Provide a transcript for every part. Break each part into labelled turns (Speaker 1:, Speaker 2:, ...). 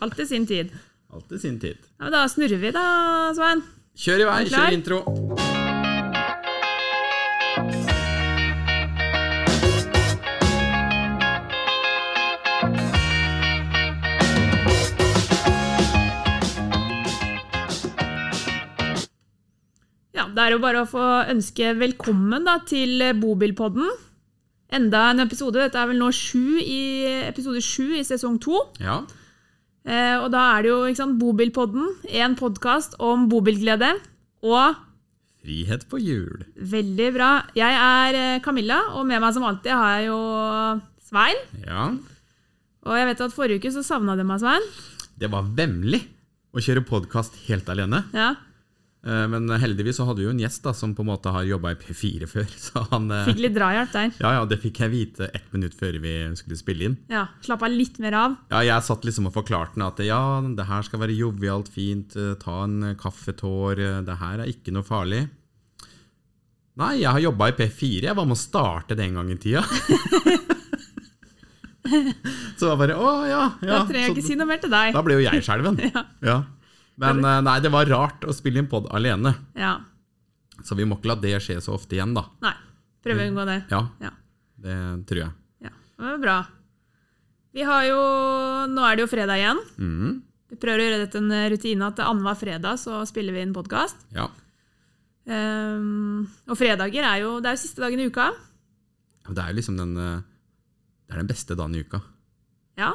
Speaker 1: Alt i sin tid.
Speaker 2: Alt i sin tid.
Speaker 1: Ja, men da snurrer vi, da, Svein.
Speaker 2: Kjør i vei,
Speaker 1: Er du klar?
Speaker 2: kjør intro.
Speaker 1: Ja, Det er jo bare å få ønske velkommen da, til Bobilpodden. Enda en episode. Dette er vel nå sju i, episode sju i sesong to.
Speaker 2: Ja,
Speaker 1: Eh, og da er det jo ikke sant, Bobilpodden, en podkast om bobilglede. Og
Speaker 2: frihet på hjul.
Speaker 1: veldig bra. Jeg er eh, Camilla, og med meg som alltid har jeg jo Svein.
Speaker 2: Ja,
Speaker 1: Og jeg vet at forrige uke så savna du meg, Svein.
Speaker 2: det var vemmelig å kjøre podkast helt alene.
Speaker 1: Ja.
Speaker 2: Eh, Men heldigvis så hadde vi jo en gjest da, som på en måte har jobba i P4 før. Så han eh,
Speaker 1: Fikk litt drahjelp der.
Speaker 2: Ja, ja, det fikk jeg vite ett minutt før vi skulle spille inn.
Speaker 1: Ja, Slappa litt mer av.
Speaker 2: Ja, jeg satt liksom og forklarte henne at ja, det her skal være jovialt, fint, eh, ta en eh, kaffetår, eh, det her er ikke noe farlig. Nei, jeg har jobba i P4, jeg var med å starte det en gang i tida. så det var bare å ja,
Speaker 1: da
Speaker 2: ja.
Speaker 1: trenger jeg ikke
Speaker 2: Så,
Speaker 1: si noe mer til deg.
Speaker 2: da ble jo jeg skjelven. ja. Men eh, nei, det var rart å spille inn pod alene,
Speaker 1: Ja,
Speaker 2: så vi må ikke la det skje så ofte igjen, da.
Speaker 1: Nei. Prøve å unngå det.
Speaker 2: Ja,
Speaker 1: Ja.
Speaker 2: det tror jeg.
Speaker 1: Ja, det var bra. Vi har jo, Nå er det jo fredag igjen.
Speaker 2: Mm,
Speaker 1: Vi prøver å gjøre dette en rutine at annenhver fredag så spiller vi inn podkast.
Speaker 2: ja.
Speaker 1: og fredager er jo det er jo siste dagen i uka.
Speaker 2: Men Det er jo liksom den eh, Det er den beste dagen i uka,
Speaker 1: Ja,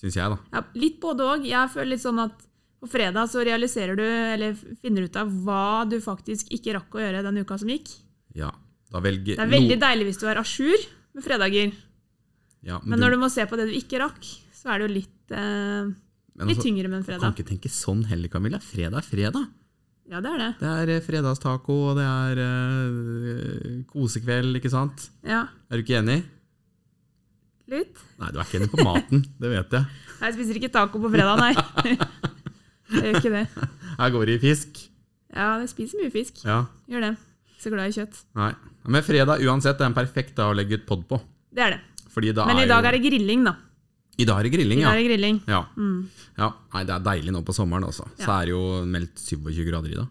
Speaker 2: syns jeg, da.
Speaker 1: ja Litt både òg. Jeg føler litt sånn at på fredag så realiserer du, eller finner ut av, hva du faktisk ikke rakk å gjøre den uka som gikk.
Speaker 2: Ja. Da velger
Speaker 1: Det er veldig deilig hvis du er à jour med fredager,
Speaker 2: ja,
Speaker 1: men når du må se på det du ikke rakk, så er det jo litt, eh,
Speaker 2: men
Speaker 1: litt
Speaker 2: altså,
Speaker 1: tyngre med en
Speaker 2: Kan
Speaker 1: fredag.
Speaker 2: ikke tenke sånn heller, Camilla. Fredag er fredag.
Speaker 1: Ja, det er det.
Speaker 2: Det er eh, fredagstaco, og det er eh, kosekveld, ikke sant?
Speaker 1: Ja,
Speaker 2: Er du ikke enig?
Speaker 1: litt.
Speaker 2: Nei, du er ikke enig på maten, det vet jeg.
Speaker 1: Nei, Jeg spiser ikke taco på fredag, nei. Jeg gjør ikke det.
Speaker 2: Her går det i fisk.
Speaker 1: Ja, jeg spiser mye fisk.
Speaker 2: Ja.
Speaker 1: Gjør det. Ikke Så glad i kjøtt.
Speaker 2: Nei. Men fredag uansett er en perfekt dag å legge ut pod på.
Speaker 1: Det er det.
Speaker 2: Fordi da
Speaker 1: Men i
Speaker 2: er
Speaker 1: dag
Speaker 2: jo-
Speaker 1: er det grilling, da.
Speaker 2: I dag er det
Speaker 1: I
Speaker 2: grilling, ja.
Speaker 1: dag er det Mm. grilling.
Speaker 2: Ja. ja. Nei, det er deilig nå på sommeren, altså. Så er det jo meldt 27 grader i dag.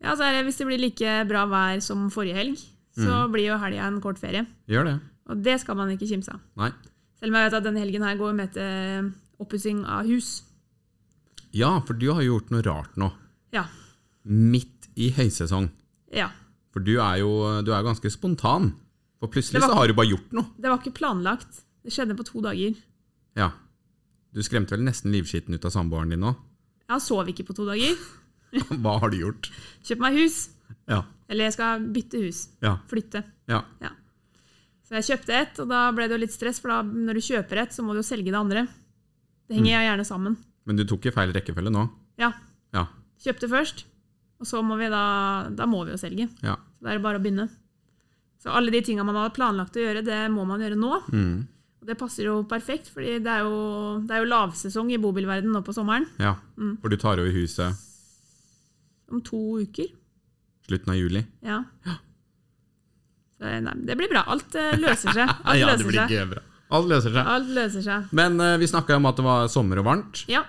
Speaker 1: Ja, så er det, Hvis det blir like bra vær som forrige helg, så blir jo helga en kort ferie.
Speaker 2: Gjør det.
Speaker 1: Og det skal man ikke kimse av.
Speaker 2: Nei.
Speaker 1: Selv om jeg vet at denne helgen her går med til oppussing av hus.
Speaker 2: Ja, for du har jo gjort noe rart nå.
Speaker 1: Ja.
Speaker 2: Midt i høysesong.
Speaker 1: ja.
Speaker 2: For du er jo du er ganske spontan. For plutselig
Speaker 1: Det var-
Speaker 2: så har du bare gjort noe.
Speaker 1: Det var ikke planlagt. Det skjedde på to dager.
Speaker 2: Ja. Du skremte vel nesten livskiten ut av samboeren din nå.
Speaker 1: Jeg sov ikke på to dager.
Speaker 2: Hva har du gjort?
Speaker 1: Kjøp meg hus.
Speaker 2: Ja.
Speaker 1: Eller jeg skal bytte hus.
Speaker 2: Ja.
Speaker 1: Flytte.
Speaker 2: Ja.
Speaker 1: Ja. Så jeg kjøpte ett, og da ble det jo litt stress, for da, når du kjøper ett, så må du jo selge det andre. Det henger
Speaker 2: Mm.
Speaker 1: jo gjerne sammen.
Speaker 2: Men du tok i feil rekkefølge nå.
Speaker 1: Ja,
Speaker 2: Ja.
Speaker 1: kjøpte først, og så må vi da, da må vi jo selge.
Speaker 2: Ja.
Speaker 1: Så da er det bare å begynne. Så alle de tinga man hadde planlagt å gjøre, det må man gjøre nå.
Speaker 2: Mm.
Speaker 1: Og det passer jo perfekt, fordi det er jo, det er jo lavsesong i bobilverden nå på sommeren.
Speaker 2: ja.
Speaker 1: Mm.
Speaker 2: For du tar over huset
Speaker 1: Om to uker.
Speaker 2: slutten av juli.
Speaker 1: Ja. Så, nei, det blir bra. Alt eh, løser seg.
Speaker 2: Nei,
Speaker 1: Alt løser seg.
Speaker 2: gøy bra. Alt løser seg.
Speaker 1: Alt løser seg.
Speaker 2: Men eh, vi snakka om at det var sommer og varmt.
Speaker 1: Ja.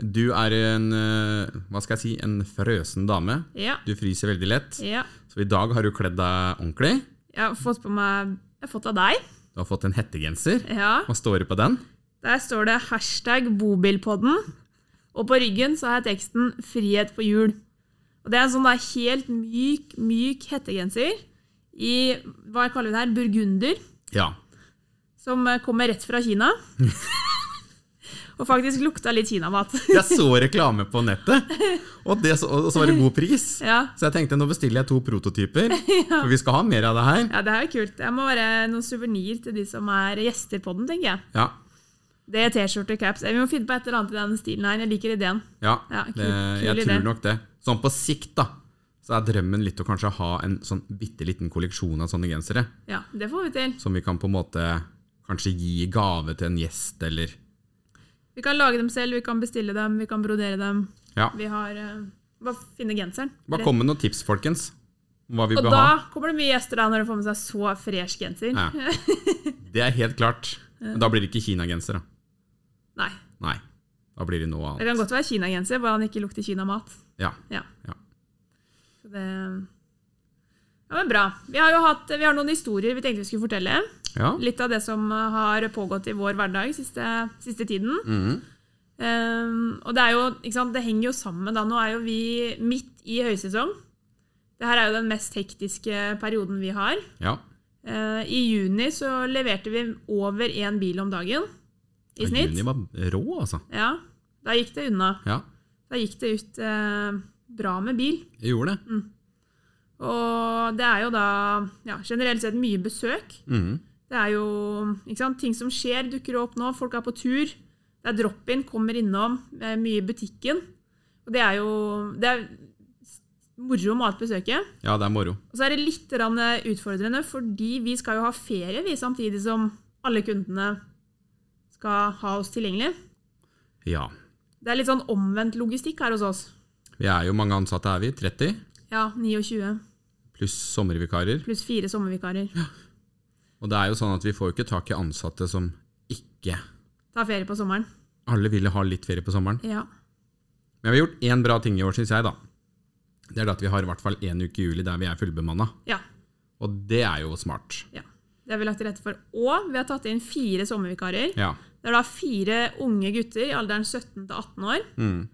Speaker 2: Du er en eh, hva skal jeg si, en frøsen dame.
Speaker 1: Ja.
Speaker 2: Du fryser veldig lett.
Speaker 1: Ja.
Speaker 2: Så i dag har du kledd deg ordentlig.
Speaker 1: Jeg har fått på meg Jeg har fått av deg.
Speaker 2: Du har fått en hettegenser.
Speaker 1: Ja.
Speaker 2: Hva står det på den?
Speaker 1: Der står det hashtag bobilpodden. Og på ryggen så har jeg teksten 'Frihet på hjul'. Og Det er en sånn da helt myk, myk hettegenser i hva jeg kaller vi det her, burgunder,
Speaker 2: Ja.
Speaker 1: som eh, kommer rett fra Kina. og faktisk lukta litt kinamat.
Speaker 2: Jeg så reklame på nettet, og, det, så- og så var det god pris.
Speaker 1: ja.
Speaker 2: Så jeg tenkte nå bestiller jeg to prototyper, for vi skal ha mer av det her.
Speaker 1: ja, det her er kult. Det må være noen suvenir til de som er gjester på den, tenker jeg.
Speaker 2: Ja,
Speaker 1: Det er T-skjorte, caps Eh, Vi må finne på et eller annet i den stilen her. Jeg liker ideen.
Speaker 2: ja,
Speaker 1: Ja, kul-
Speaker 2: det,
Speaker 1: kul
Speaker 2: jeg
Speaker 1: idé.
Speaker 2: tror nok det. Sånn på sikt, da, så er drømmen litt å kanskje ha en sånn bitte liten kolleksjon av sånne gensere,
Speaker 1: Ja, det får vi til.
Speaker 2: som vi kan på en måte kanskje gi i gave til en gjest, eller
Speaker 1: Vi kan lage dem selv, vi kan bestille dem, vi kan brodere dem.
Speaker 2: Ja.
Speaker 1: Vi har eh, Bare finne genseren.
Speaker 2: Bare kom med noen tips, folkens, om hva vi
Speaker 1: og
Speaker 2: bør
Speaker 1: da
Speaker 2: ha.
Speaker 1: kommer det mye gjester da når de får med seg så fresh genser.
Speaker 2: Ja. Det er helt klart. Men da blir det ikke kinagenser, da.
Speaker 1: Nei.
Speaker 2: Nei. Da blir det noe
Speaker 1: Det
Speaker 2: annet.
Speaker 1: kan godt være kinagenser, bare han ikke lukter kinamat.
Speaker 2: Ja.
Speaker 1: Ja.
Speaker 2: Ja.
Speaker 1: Så det Ja, men bra. Vi har jo hatt, vi har noen historier vi tenkte vi skulle fortelle.
Speaker 2: ja.
Speaker 1: Litt av det som eh, har pågått i vår hverdag siste, siste tiden.
Speaker 2: Mhm.
Speaker 1: Ehm, og det er jo, ikke sant, det henger jo sammen da. Nå er jo vi midt i høysesong. Det her er jo den mest hektiske perioden vi har.
Speaker 2: ja.
Speaker 1: Eh, I juni så leverte vi over én bil om dagen i
Speaker 2: Ja,
Speaker 1: snitt.
Speaker 2: Juni var rå, altså.
Speaker 1: Ja, Da gikk det unna.
Speaker 2: Ja,
Speaker 1: Da gikk det ut eh, bra med bil.
Speaker 2: jeg gjorde det.
Speaker 1: Mm. Og det er jo da ja, generelt sett mye besøk.
Speaker 2: Mhm.
Speaker 1: Det er jo ikke sant, ting som skjer, dukker opp nå. Folk er på tur. Det er drop-in, kommer innom. eh, Mye i butikken. Og det er jo det er moro med alt besøket.
Speaker 2: Ja, det er moro.
Speaker 1: Og så er det litt grann utfordrende, fordi vi skal jo ha ferie vi, samtidig som alle kundene skal ha oss tilgjengelig.
Speaker 2: Ja.
Speaker 1: Det er litt sånn omvendt logistikk her hos oss.
Speaker 2: Vi er jo mange ansatte, er vi? 30?
Speaker 1: Ja, 29
Speaker 2: Pluss sommervikarer.
Speaker 1: pluss fire sommervikarer.
Speaker 2: Og det er jo sånn at vi får jo ikke tak i ansatte som ikke
Speaker 1: Ta ferie på sommeren.
Speaker 2: Alle ville ha litt ferie på sommeren.
Speaker 1: Ja.
Speaker 2: Men vi har gjort én bra ting i år, syns jeg, da. Det er det at vi har i hvert fall én uke i juli der vi er fullbemanna.
Speaker 1: ja.
Speaker 2: Og det er jo smart.
Speaker 1: Ja. Det har vi lagt til rette for. Og vi har tatt inn fire sommervikarer.
Speaker 2: Ja.
Speaker 1: Det er da fire unge gutter i alderen 17 til 18 år.
Speaker 2: Mm.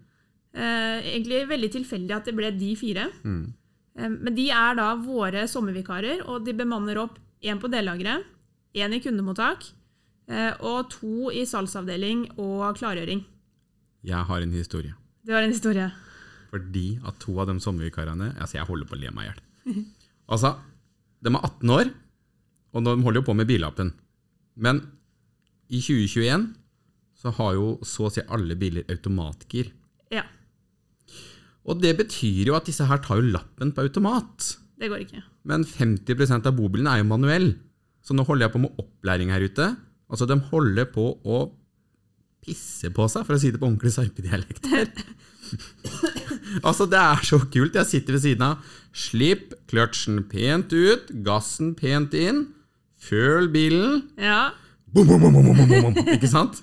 Speaker 1: Eh, egentlig veldig tilfeldig at det ble de fire.
Speaker 2: Mm.
Speaker 1: Eh, men de er da våre sommervikarer, og de bemanner opp én på dellageret, én i kundemottak eh, og to i salgsavdeling og klargjøring.
Speaker 2: Jeg har en historie.
Speaker 1: Det var en historie.
Speaker 2: Fordi at to av de sommervikarene Altså, jeg holder på å le meg i hjel. Altså, de er 18 år, og de holder jo på med billappen. Men i 2021 så har jo så å si alle biler automatgir.
Speaker 1: Ja.
Speaker 2: Og det betyr jo at disse her tar jo lappen på automat.
Speaker 1: Det går ikke.
Speaker 2: Men 50 av bobilene er jo manuell. Så nå holder jeg på med opplæring her ute. Altså, de holder på å pisse på seg, for å si det på ordentlig sarpedialekt her. altså, det er så kult. Jeg sitter ved siden av. Slipp kløtsjen pent ut, gassen pent inn. Føl bilen.
Speaker 1: Ja.
Speaker 2: Bom, bom, bom, bom, bom, bom, bom. Ikke sant?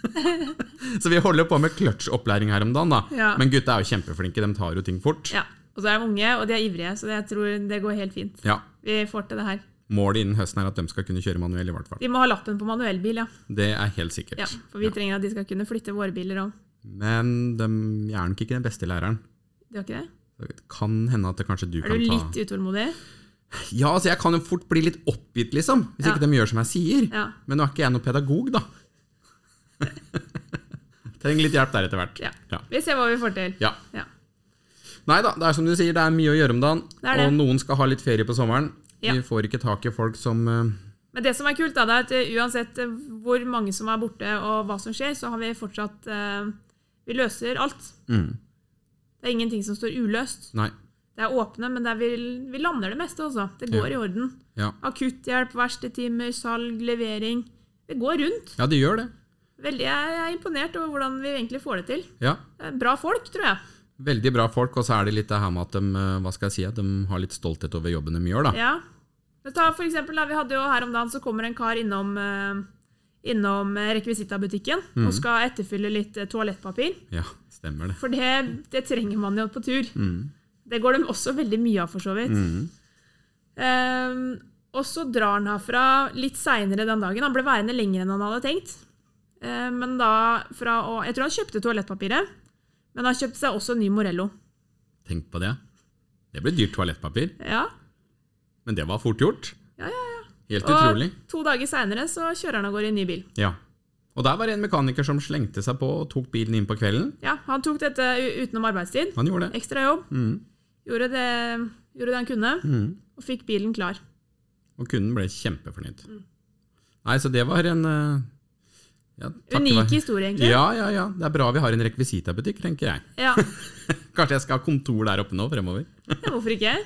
Speaker 2: så vi holder på med kløtsjopplæring her om dagen, da.
Speaker 1: Ja.
Speaker 2: Men gutta er jo kjempeflinke. De tar jo ting fort.
Speaker 1: ja. Og så er de unge, og de er ivrige, så jeg tror det går helt fint.
Speaker 2: ja.
Speaker 1: Vi får til det her.
Speaker 2: Målet innen høsten er at de skal kunne kjøre manuell, i hvert fall.
Speaker 1: De må ha lappen på manuellbil, ja.
Speaker 2: Det er helt sikkert.
Speaker 1: Ja, for vi trenger at de skal kunne flytte våre biler òg.
Speaker 2: Men de er nok ikke den beste læreren.
Speaker 1: Det var ikke det?
Speaker 2: Det kan hende at det kanskje du
Speaker 1: Er
Speaker 2: kan
Speaker 1: du
Speaker 2: ta
Speaker 1: litt utålmodig?
Speaker 2: Ja, altså jeg kan jo fort bli litt oppgitt, liksom. Hvis
Speaker 1: Ja.
Speaker 2: ikke de gjør som jeg sier.
Speaker 1: Ja.
Speaker 2: Men nå er ikke jeg noen pedagog, da. Trenger litt hjelp der etter hvert.
Speaker 1: Ja.
Speaker 2: Ja.
Speaker 1: Vi ser hva vi får til.
Speaker 2: ja.
Speaker 1: Ja.
Speaker 2: Nei da, det er som du sier, det er mye å gjøre om dagen.
Speaker 1: Det er det.
Speaker 2: Og noen skal ha litt ferie på sommeren.
Speaker 1: Ja.
Speaker 2: Vi får ikke tak i folk som eh,
Speaker 1: Men det som er kult, da, det er at eh, uansett eh, hvor mange som er borte og hva som skjer, så har vi fortsatt eh, Vi løser alt.
Speaker 2: mm,
Speaker 1: Det er ingenting som står uløst.
Speaker 2: Nei.
Speaker 1: Det er åpne, men det er vi, vi lander det meste, altså. Det går i orden.
Speaker 2: Ja.
Speaker 1: Akutthjelp, verkstedtimer, salg, levering. Det går rundt.
Speaker 2: ja, de gjør det.
Speaker 1: Veldig, jeg er imponert over hvordan vi egentlig får det til.
Speaker 2: Ja.
Speaker 1: Det er Bra folk, tror jeg.
Speaker 2: Veldig bra folk, og så er det litt det her med at de, eh, hva skal jeg si, at de har litt stolthet over jobben de gjør, da.
Speaker 1: Ja. Men ta for eksempel, da, vi hadde jo her om dagen så kommer en kar innom, eh, innom eh, rekvisittabutikken og skal etterfylle litt eh, toalettpapir.
Speaker 2: Ja, stemmer det.
Speaker 1: For det, det trenger man jo på tur. Det går dem også veldig mye av, for så vidt. Eh, og så drar han herfra litt seinere den dagen. Han ble værende lenger enn han hadde tenkt. Eh, men da fra å Jeg tror han kjøpte toalettpapiret, men han kjøpte seg også en ny Morello.
Speaker 2: Tenk på det. Det ble dyrt toalettpapir,
Speaker 1: Ja,
Speaker 2: men det var fort gjort.
Speaker 1: ja, ja. ja.
Speaker 2: Helt
Speaker 1: Og
Speaker 2: utrolig.
Speaker 1: to dager seinere så kjører han av gårde i en ny bil.
Speaker 2: Ja. Og der var det en mekaniker som slengte seg på og tok bilen inn på kvelden.
Speaker 1: Ja, han tok dette u- utenom arbeidstid.
Speaker 2: Han gjorde det.
Speaker 1: Ekstra jobb.
Speaker 2: Mhm.
Speaker 1: Gjorde det, gjorde det han kunne,
Speaker 2: Mhm.
Speaker 1: og fikk bilen klar.
Speaker 2: Og kunden ble kjempefornøyd.
Speaker 1: Mm.
Speaker 2: Nei, så det var en eh, ja, takk
Speaker 1: Unik
Speaker 2: være-
Speaker 1: historie, egentlig.
Speaker 2: Ja, ja, ja. Det er bra vi har en rekvisitabutikk, tenker jeg.
Speaker 1: Ja.
Speaker 2: Kanskje jeg skal ha kontor der oppe nå fremover.
Speaker 1: ja, hvorfor ikke?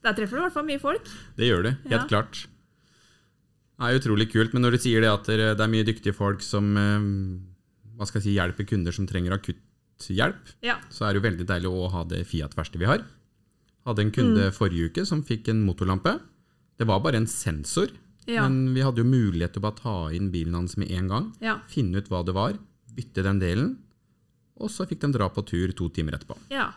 Speaker 1: Der treffer du i hvert fall mye folk.
Speaker 2: Det gjør du, helt
Speaker 1: Ja.
Speaker 2: klart. Det er utrolig kult, men når du sier det at det er mye dyktige folk som eh, hva skal jeg si, hjelper kunder som trenger akutthjelp,
Speaker 1: Ja.
Speaker 2: så er det jo veldig deilig å ha det Fiat-verkstedet vi har. Hadde en
Speaker 1: Mm.
Speaker 2: kunde forrige uke som fikk en motorlampe. Det var bare en sensor,
Speaker 1: Ja.
Speaker 2: men vi hadde jo mulighet til å bare ta inn bilen hans med en gang.
Speaker 1: ja.
Speaker 2: Finne ut hva det var, bytte den delen, og så fikk de dra på tur to timer etterpå.
Speaker 1: Ja.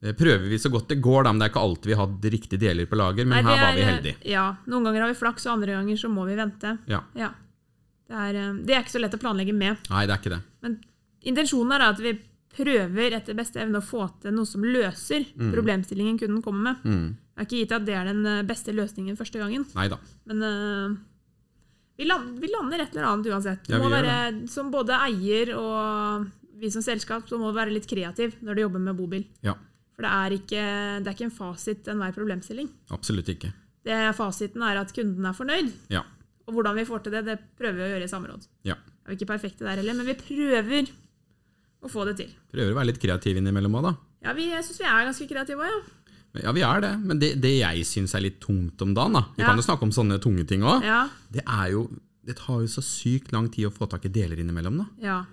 Speaker 2: Det prøver vi så godt det går, da, men det er ikke alltid vi har hatt riktige deler på lager. Men
Speaker 1: Nei, det
Speaker 2: her var vi
Speaker 1: er-
Speaker 2: heldige.
Speaker 1: Ja. Noen ganger har vi flaks, og andre ganger så må vi vente.
Speaker 2: Ja.
Speaker 1: Ja. Det er, eh, det er ikke så lett å planlegge med.
Speaker 2: Nei, det er ikke det.
Speaker 1: Men intensjonen er at vi prøver etter beste evne å få til noe som løser problemstillingen kunden kommer med.
Speaker 2: Mm.
Speaker 1: Det er ikke gitt at det er den eh, beste løsningen første gangen,
Speaker 2: Nei da.
Speaker 1: men eh, vi, land, vi lander et eller annet uansett. Det
Speaker 2: Ja, vi
Speaker 1: må
Speaker 2: gjør
Speaker 1: være, Som både eier og vi som selskap så må du være litt kreativ når du jobber med bobil.
Speaker 2: Ja,
Speaker 1: For det er ikke, det er ikke en fasit enhver problemstilling.
Speaker 2: absolutt ikke.
Speaker 1: Det Fasiten er at kunden er fornøyd,
Speaker 2: Ja.
Speaker 1: og hvordan vi får til det, det prøver vi å gjøre i samråd.
Speaker 2: ja.
Speaker 1: Er vi ikke perfekte der heller, men vi prøver å få det til.
Speaker 2: Prøver å være litt kreativ innimellom òg, da.
Speaker 1: Ja, vi, Jeg syns vi er ganske kreative òg, ja.
Speaker 2: Ja, vi er det. Men det, det jeg syns er litt tungt om dagen, da Vi
Speaker 1: Ja.
Speaker 2: kan jo snakke om sånne tunge ting òg.
Speaker 1: ja.
Speaker 2: Det er jo Det tar jo så sykt lang tid å få tak i deler innimellom, da.
Speaker 1: Ja.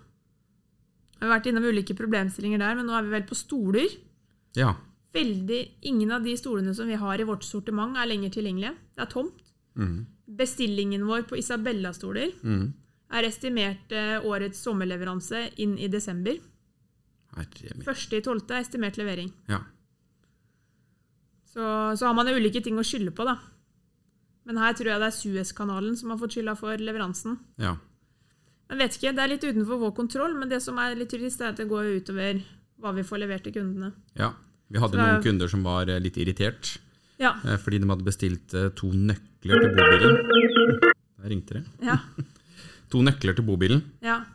Speaker 1: Vi har vært innom ulike problemstillinger der, men nå er vi vel på stoler.
Speaker 2: Ja.
Speaker 1: Veldig, Ingen av de stolene som vi har i vårt sortiment, er lenger tilgjengelige. Det er tomt.
Speaker 2: Mm.
Speaker 1: Bestillingen vår på Isabella-stoler
Speaker 2: Mm.
Speaker 1: er estimert eh, årets sommerleveranse inn i desember.
Speaker 2: Herre min.
Speaker 1: 1.12. er estimert levering.
Speaker 2: Ja.
Speaker 1: Så, så har man jo ulike ting å skylde på, da. Men her tror jeg det er Suezkanalen som har fått skylda for leveransen.
Speaker 2: ja.
Speaker 1: Jeg vet ikke, Det er litt utenfor vår kontroll, men det som er litt trist, er at det går jo utover hva vi får levert til kundene.
Speaker 2: Ja. Vi hadde
Speaker 1: Så det er-
Speaker 2: noen kunder som var eh, litt irritert
Speaker 1: Ja,
Speaker 2: eh, fordi de hadde bestilt eh, to nøkler til bobilen. Der ringte det.
Speaker 1: ja,
Speaker 2: To nøkler til bobilen.
Speaker 1: ja.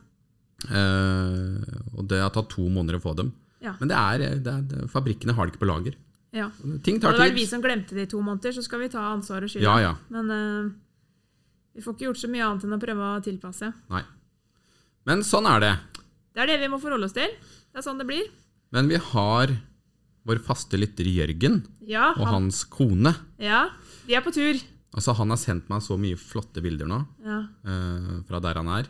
Speaker 2: Eh, og det har tatt to måneder å få dem.
Speaker 1: Ja.
Speaker 2: Men det er, eh, det er, det, fabrikkene har det ikke på lager.
Speaker 1: ja.
Speaker 2: Ting tar
Speaker 1: Hadde det vært vi
Speaker 2: tid.
Speaker 1: som glemte det i to måneder, så skal vi ta ansvar og skylda.
Speaker 2: Ja, ja.
Speaker 1: Men eh, vi får ikke gjort så mye annet enn å prøve å tilpasse.
Speaker 2: Nei. Men sånn er det.
Speaker 1: Det er det vi må forholde oss til. Det er sånn det blir.
Speaker 2: Men vi har vår faste lytter Jørgen
Speaker 1: Ja,
Speaker 2: og
Speaker 1: han,
Speaker 2: hans kone.
Speaker 1: ja de er på tur.
Speaker 2: Altså, han har sendt meg så mye flotte bilder nå
Speaker 1: Ja,
Speaker 2: eh, fra der han er.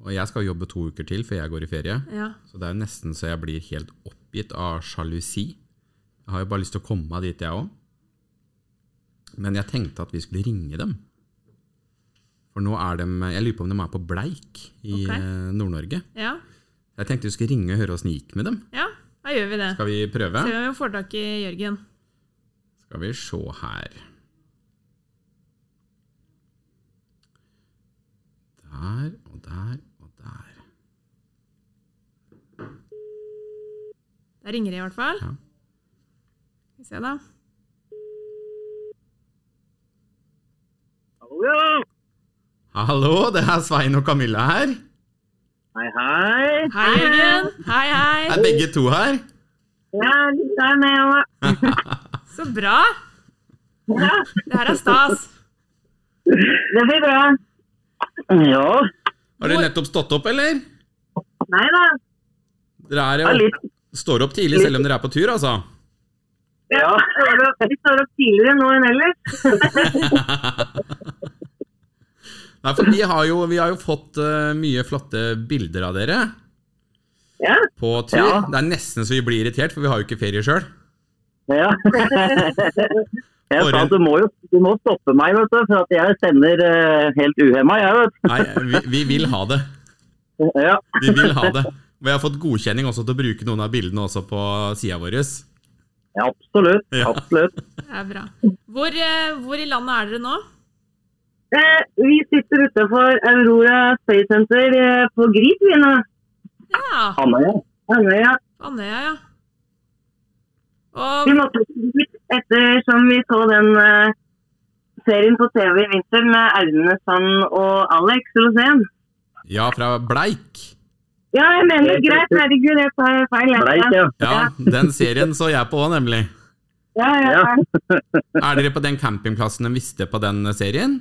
Speaker 2: Og jeg skal jobbe to uker til før jeg går i ferie.
Speaker 1: ja,
Speaker 2: Så det er jo nesten så jeg blir helt oppgitt av sjalusi. Jeg har jo bare lyst til å komme meg dit, jeg òg. Men jeg tenkte at vi skulle ringe dem. For nå er de Jeg lurer på om de er på Bleik i
Speaker 1: Ok.
Speaker 2: eh, Nord-Norge.
Speaker 1: ja.
Speaker 2: Jeg tenkte vi skulle ringe og høre åssen det gikk med dem.
Speaker 1: Ja, da gjør vi det.
Speaker 2: Skal vi prøve?
Speaker 1: Ser vi om vi får tak i Jørgen.
Speaker 2: Skal vi se her Der og der og der.
Speaker 1: Der ringer det i hvert fall.
Speaker 2: Ja.
Speaker 1: Skal vi se, da.
Speaker 3: Hallo, ja.
Speaker 2: Hallo, det er Svein og Camilla her.
Speaker 3: Hei, hei.
Speaker 1: Hei, Jørgen. Hei, hei.
Speaker 2: Er begge to her?
Speaker 3: Ja, det er meg òg.
Speaker 1: Så bra.
Speaker 3: Ja,
Speaker 1: Det her er stas.
Speaker 3: det blir bra. Ja.
Speaker 2: Har dere nettopp stått opp, eller?
Speaker 3: Nei da.
Speaker 2: Dere er
Speaker 3: Ja, litt.
Speaker 2: står opp tidlig selv om dere er på tur, altså?
Speaker 3: Ja. Vi står opp tidligere nå enn ellers.
Speaker 2: Nei, for vi har jo, vi har jo fått eh, mye flotte bilder av dere
Speaker 3: Ja.
Speaker 2: på tur.
Speaker 3: Ja.
Speaker 2: Det er nesten så vi blir irritert, for vi har jo ikke ferie sjøl.
Speaker 3: ja. Jeg
Speaker 2: For
Speaker 3: sa
Speaker 2: en-
Speaker 3: du må jo du må stoppe meg, vet du, for at jeg sender eh, helt uhemma, jeg, vet
Speaker 2: Nei, vi, vi vil ha det.
Speaker 3: du. Ja.
Speaker 2: Vi vil ha det. Vi har fått godkjenning også til å bruke noen av bildene også på sida vår.
Speaker 3: ja, absolutt.
Speaker 2: Ja.
Speaker 3: Absolutt.
Speaker 1: Det er bra. Hvor, eh, hvor i landet er dere nå?
Speaker 3: Eh, vi sitter utenfor Aurora Space Center eh, på Grid, vi nå.
Speaker 1: Ja,
Speaker 3: Andøya. Andøya.
Speaker 1: Andøya, ja. Og
Speaker 3: Vi måtte dit ettersom vi så den eh, serien på TV i vinter med Aune Sand og Alex Rosén.
Speaker 2: Ja, fra Bleik.
Speaker 3: Ja, jeg mener greit. Herregud, jeg tar feil. Jeg, Bleit, ja.
Speaker 2: Ja, Den serien så jeg på òg, nemlig.
Speaker 3: Ja, jeg, tar feil.
Speaker 2: Er dere på den campingplassen de visste på den serien?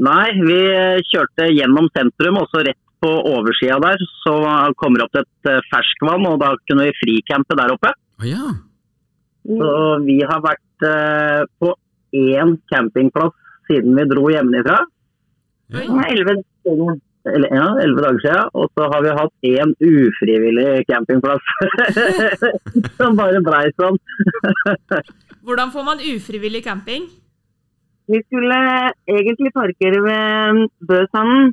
Speaker 4: Nei, vi eh, kjørte gjennom sentrum, og så rett på oversida der. Så kommer det opp et eh, ferskvann, og da kunne vi fricampe der oppe.
Speaker 2: Å ja.
Speaker 4: Så vi har vært eh, på én campingplass siden vi dro hjemmefra.
Speaker 1: Oi.
Speaker 4: Det er 11 dager- eller, ja, 11 dager siden. Og så har vi hatt én ufrivillig campingplass som bare blei sånn.
Speaker 1: hvordan får man ufrivillig camping?
Speaker 3: Vi skulle egentlig parkere ved Bøsanden,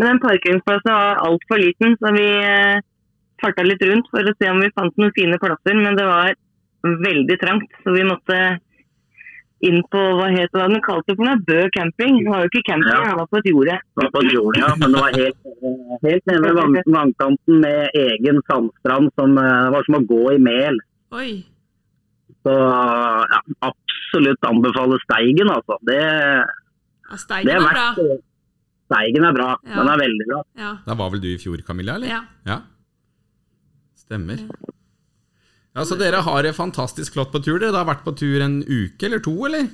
Speaker 3: Men den parkeringsplassen var altfor liten, så vi eh, farta litt rundt for å se om vi fant noen fine plasser. Men det var veldig trangt, så vi måtte inn på hva het det, den kalte for noe? Bø camping. Det var jo ikke camping,
Speaker 4: Ja.
Speaker 3: det var på et jorde.
Speaker 4: Det var på jorden, ja, men det var helt, helt nede ved vann, vannkanten med egen sandstrand som eh, var som å gå i mel.
Speaker 1: Oi.
Speaker 4: Så ja, absolutt anbefaler Steigen, altså. Det,
Speaker 1: Ja,
Speaker 4: det
Speaker 1: Steigen
Speaker 4: er
Speaker 1: er bra.
Speaker 4: verdt Steigen er bra.
Speaker 1: Ja.
Speaker 4: Den er veldig bra.
Speaker 1: Ja.
Speaker 2: Da var vel du i fjor, Camilla? eller?
Speaker 1: ja.
Speaker 2: Stemmer. Ja, Så dere har det fantastisk flott på tur. Dere har vært på tur en uke eller to, eller?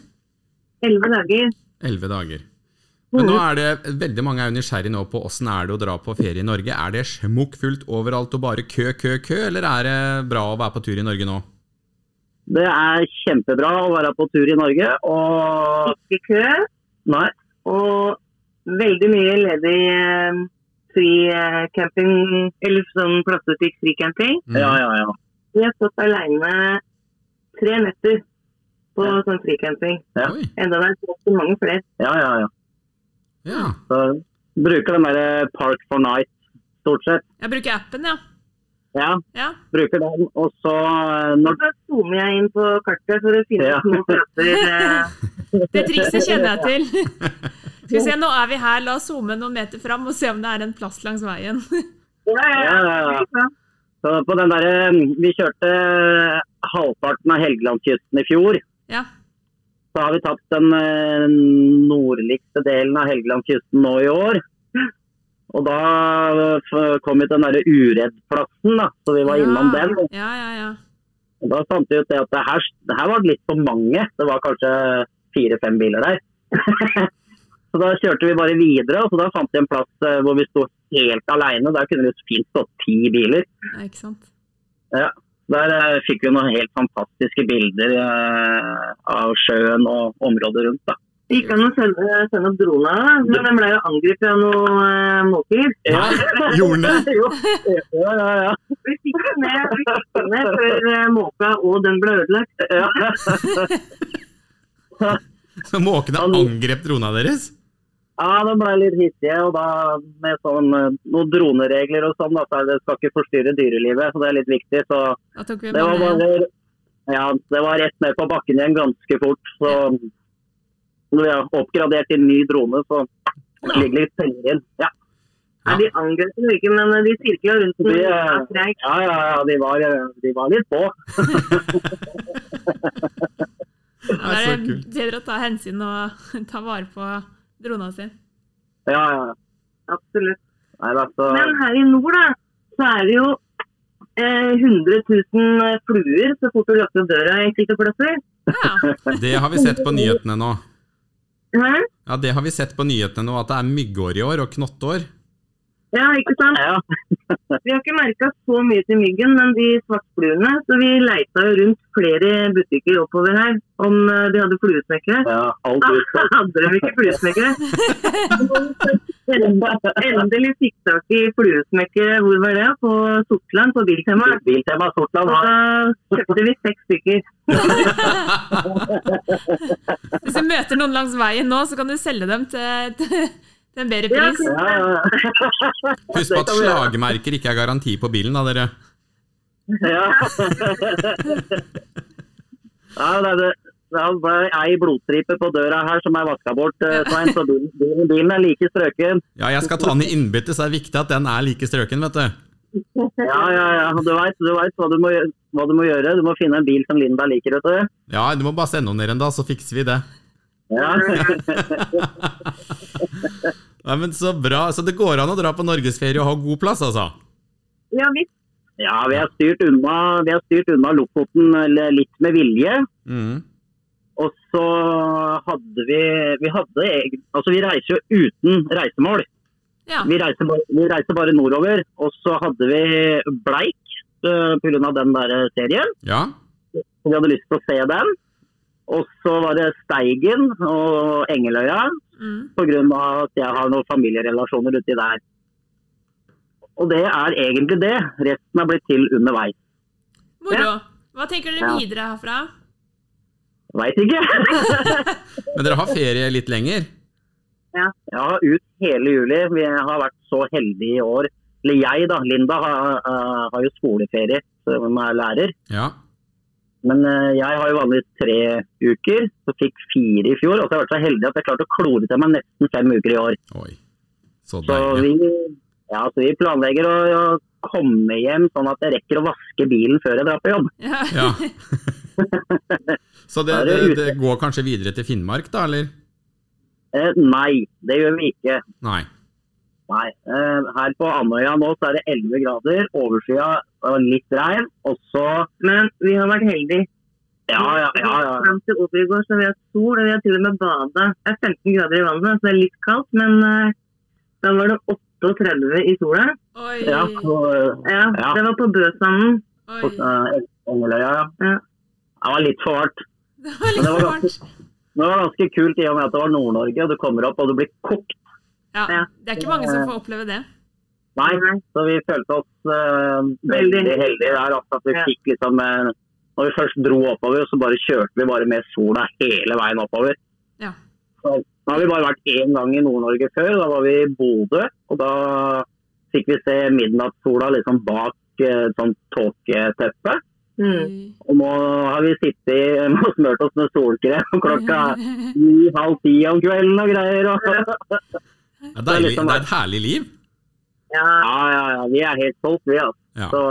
Speaker 3: Elleve dager.
Speaker 2: Elleve dager. Men nå er det veldig mange er jo nysgjerrig nå på åssen er det å dra på ferie i Norge. Er det smukkfullt overalt og bare kø, kø, kø, eller er det bra å være på tur i Norge nå?
Speaker 4: Det er kjempebra å være på tur i Norge. Og
Speaker 3: Ikke kø.
Speaker 4: nei,
Speaker 3: Og veldig mye ledig eh, fri eh, camping, eller sånn plasser til fri camping.
Speaker 2: Mm.
Speaker 4: ja, ja, ja.
Speaker 3: Vi har stått alene tre netter på
Speaker 4: Ja.
Speaker 3: sånn fri camping.
Speaker 4: ja.
Speaker 2: Oi,
Speaker 3: Enda det er ganske mange flere.
Speaker 4: ja, ja, ja.
Speaker 2: ja.
Speaker 4: Så bruker den derre Park for Night stort sett.
Speaker 1: Jeg bruker appen, ja.
Speaker 4: Ja,
Speaker 1: ja.
Speaker 4: bruker den. Og så eh,
Speaker 3: Og
Speaker 4: når
Speaker 3: så zoomer jeg inn på kartet for å finne
Speaker 4: Ja.
Speaker 3: små plasser. eh,
Speaker 1: Det trikset kjenner jeg til. Skal vi se, nå er vi her. La oss zoome noen meter fram og se om det er en plass langs veien.
Speaker 3: Ja, ja,
Speaker 4: Ja, ja,
Speaker 3: ja.
Speaker 4: Så på den der, eh, Vi kjørte eh, halvparten av Helgelandskysten i fjor.
Speaker 1: Ja.
Speaker 4: Så har vi tatt den eh, nordligste delen av Helgelandskysten nå i år. Og da eh, f- kom vi til den derre Uredd-plassen, da. Så vi var innom den.
Speaker 1: Ja, ja, ja.
Speaker 4: Og da fant vi ut det at det her, det her var litt for mange. Det var kanskje fire-fem biler der. så da kjørte vi bare videre, og så da fant vi en plass eh, hvor vi sto helt alene. Der kunne vi fint stått ti biler.
Speaker 1: ja ikke sant.
Speaker 4: Der eh, fikk vi noen helt fantastiske bilder eh, av sjøen og området rundt. Da.
Speaker 3: Det gikk an å sende, sende opp drona, men den ble jo angrepet av noen uh, måker.
Speaker 2: Ja, Gjorde den det?
Speaker 4: Jo, ja, ja, ja.
Speaker 3: Vi fikk den ned, vi fikk den ned før eh, måka og den ble ødelagt.
Speaker 2: Så måkene angrep drona deres?
Speaker 4: ja de ble litt hissige. Og da med sånn, eh, noen droneregler og sånn, da, så er det skal ikke forstyrre dyrelivet. Så det er litt viktig. Så
Speaker 1: Da tok vi
Speaker 4: det var
Speaker 1: med den.
Speaker 4: bare ja, det var rett ned på bakken igjen ganske fort. Så når vi har oppgradert til ny drone, så ligger litt penger inn. Ja.
Speaker 3: Nei, de angrep den ikke, men eh, de sirkla rundt den.
Speaker 4: Det, eh,
Speaker 3: Ja, treig.
Speaker 4: Ja, ja, ja, de var, de var litt på.
Speaker 1: Da
Speaker 2: Det
Speaker 1: er
Speaker 2: er så
Speaker 1: det
Speaker 2: kult.
Speaker 1: bedre å ta hensyn og ta vare på drona si.
Speaker 4: Ja, ja.
Speaker 3: Absolutt.
Speaker 4: Nei, da, så,
Speaker 3: Men her i nord da, så er det jo eh, 100 000 fluer så fort du lukker opp døra i enkelte plasser.
Speaker 1: Ja.
Speaker 2: Det har vi sett på nyhetene nå.
Speaker 3: Hæ?
Speaker 2: Ja, det har vi sett på nyhetene nå, at det er myggår i år og knottår.
Speaker 3: Ja, ikke sant?
Speaker 4: ja.
Speaker 3: Vi har ikke merka så mye til myggen, men de svartfluene. Så vi leita jo rundt flere butikker oppover her om eh, de hadde fluesmekkere.
Speaker 4: ja, alt
Speaker 3: Da
Speaker 4: ut.
Speaker 3: hadde de ikke fluesmekkere. Endelig fikk tak i fluesmekkere. Hvor var det? På Sortland, på Biltema.
Speaker 4: Biltema Sortland
Speaker 3: Og
Speaker 4: har
Speaker 3: da kjøpte vi seks stykker.
Speaker 1: Hvis du møter noen langs veien nå, så kan du selge dem til, til, til en bedre
Speaker 3: Ja,
Speaker 1: pris.
Speaker 4: ja, ja.
Speaker 2: Husk på at slagmerker ikke er garanti på bilen, da, dere.
Speaker 4: Ja. ja, det, er det, det er ei blodstripe på døra her som er vaska bort, eh, Svein, så bilen, bilen- bilen er like strøken.
Speaker 2: Ja, jeg skal ta den i innbytte, så det er viktig at den er like strøken, vet du.
Speaker 4: Ja, ja, ja. Du veit du vet hva, du må gjø- hva du må gjøre. Du må finne en bil som Linda liker, vet du.
Speaker 2: Ja, du må bare sende den ned en dag, så fikser vi det.
Speaker 4: Ja.
Speaker 2: Nei, men Så bra. Så det går an å dra på norgesferie og ha god plass, altså?
Speaker 3: Ja, visst.
Speaker 4: ja, vi har styrt unna, vi har styrt unna Lofoten eller litt med vilje.
Speaker 2: Mm.
Speaker 4: Og så hadde vi Vi hadde egen- Altså, vi reiser jo uten reisemål.
Speaker 1: Ja.
Speaker 4: Vi reiste, bare, vi reiste bare nordover, og så hadde vi Bleik eh, pga. den der serien.
Speaker 2: Ja.
Speaker 4: Vi hadde lyst til å se den. Og så var det Steigen og Engeløya
Speaker 1: Mm.
Speaker 4: pga. at jeg har noen familierelasjoner uti der. Og det er egentlig det. Resten er blitt til underveis.
Speaker 1: Moro. Hva tenker dere
Speaker 4: Ja.
Speaker 1: videre herfra?
Speaker 4: Veit ikke.
Speaker 2: Men dere har ferie litt lenger?
Speaker 3: Ja.
Speaker 4: ut hele juli. Vi har vært så heldige i år. Eller jeg, da. Linda har, eh, har jo skoleferie, så hun er lærer.
Speaker 2: Ja.
Speaker 4: Men eh, jeg har jo vanligvis tre uker, så fikk fire i fjor. Og så har jeg vært så heldig at jeg klarte å klore til meg nesten fem uker i år.
Speaker 2: Oi. Så
Speaker 4: Så
Speaker 2: deilig.
Speaker 4: vi, ja, så vi planlegger å, å komme hjem sånn at jeg rekker å vaske bilen før jeg drar på jobb.
Speaker 1: Ja.
Speaker 2: Ja. Så det,
Speaker 4: Da er
Speaker 2: det,
Speaker 4: det
Speaker 2: det går kanskje videre til Finnmark, da, eller?
Speaker 4: Eh, nei, det gjør vi ikke.
Speaker 2: Nei.
Speaker 4: Nei. Eh, her på Andøya nå så er det 11 grader, overskya og litt regn. Og så
Speaker 3: Men vi har vært heldige.
Speaker 4: Ja, ja, ja. ja.
Speaker 3: Fram til Obergård så har vi hatt sol, og vi har til og med bada. Det er 15 grader i vannet, så det er litt kaldt, men eh, da var det 38 i sola.
Speaker 1: Oi.
Speaker 4: ja og,
Speaker 3: Ja,
Speaker 4: Ja.
Speaker 3: Det var på Bøsanden.
Speaker 1: Oi.
Speaker 4: eh, Engeløya, ja.
Speaker 3: Ja.
Speaker 4: Det var litt for hardt.
Speaker 1: Det var litt
Speaker 4: det var ganske-
Speaker 1: varmt.
Speaker 4: Men det var ganske kult i og med at det var Nord-Norge, og du kommer opp og du blir kokt.
Speaker 1: Ja.
Speaker 3: Ja.
Speaker 1: Det er ikke mange som får oppleve det.
Speaker 4: Nei, så vi følte oss eh, veldig
Speaker 3: Veldig.
Speaker 4: heldige der. Altså, at vi
Speaker 3: Ja.
Speaker 4: fikk liksom, eh, når vi først dro oppover, så bare kjørte vi bare med sola hele veien oppover.
Speaker 1: Ja.
Speaker 4: Så, da har vi bare vært én gang i Nord-Norge før. Da var vi i Bodø. Og da fikk vi se midnattssola liksom bak eh, et sånt tåketeppe.
Speaker 3: Mm.
Speaker 4: Og nå har vi sittet og smørt oss med solkrem klokka ni, halv ti om kvelden og greier. Og,
Speaker 2: Det er, deilig,
Speaker 4: liksom-
Speaker 2: det er et herlig liv.
Speaker 3: Ja.
Speaker 4: ja, ja, ja. Vi er helt solgt, vi. Altså.
Speaker 2: Ja.
Speaker 4: Så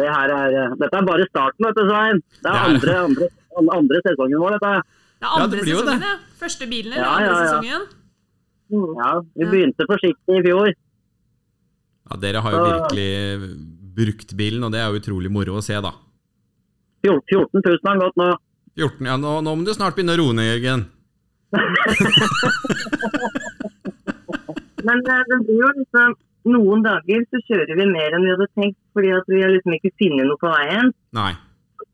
Speaker 4: det her er, eh, dette er bare starten, vet du, Svein. Det
Speaker 2: Det
Speaker 4: er
Speaker 2: er-
Speaker 4: andre, andre, andre sesongen vår, dette.
Speaker 1: Det er
Speaker 2: Ja,
Speaker 1: andre
Speaker 2: det blir jo det.
Speaker 1: sesongen, ja. Første bilen, eller
Speaker 4: Ja,
Speaker 1: andre
Speaker 4: ja, ja.
Speaker 1: sesongen.
Speaker 3: Mm.
Speaker 4: Ja, vi
Speaker 1: Ja.
Speaker 4: begynte forsiktig i fjor.
Speaker 2: Ja, dere har jo
Speaker 4: Så-
Speaker 2: virkelig brukt bilen, og det er jo utrolig moro å se, da.
Speaker 4: Fjor- 14 000 har gått nå.
Speaker 2: 14, ja, nå, nå må du snart begynne å roe ned, Jørgen.
Speaker 3: Men eh, det blir jo liksom Noen dager så kjører vi mer enn vi hadde tenkt, fordi at vi har liksom ikke funnet noe på veien.
Speaker 2: Nei.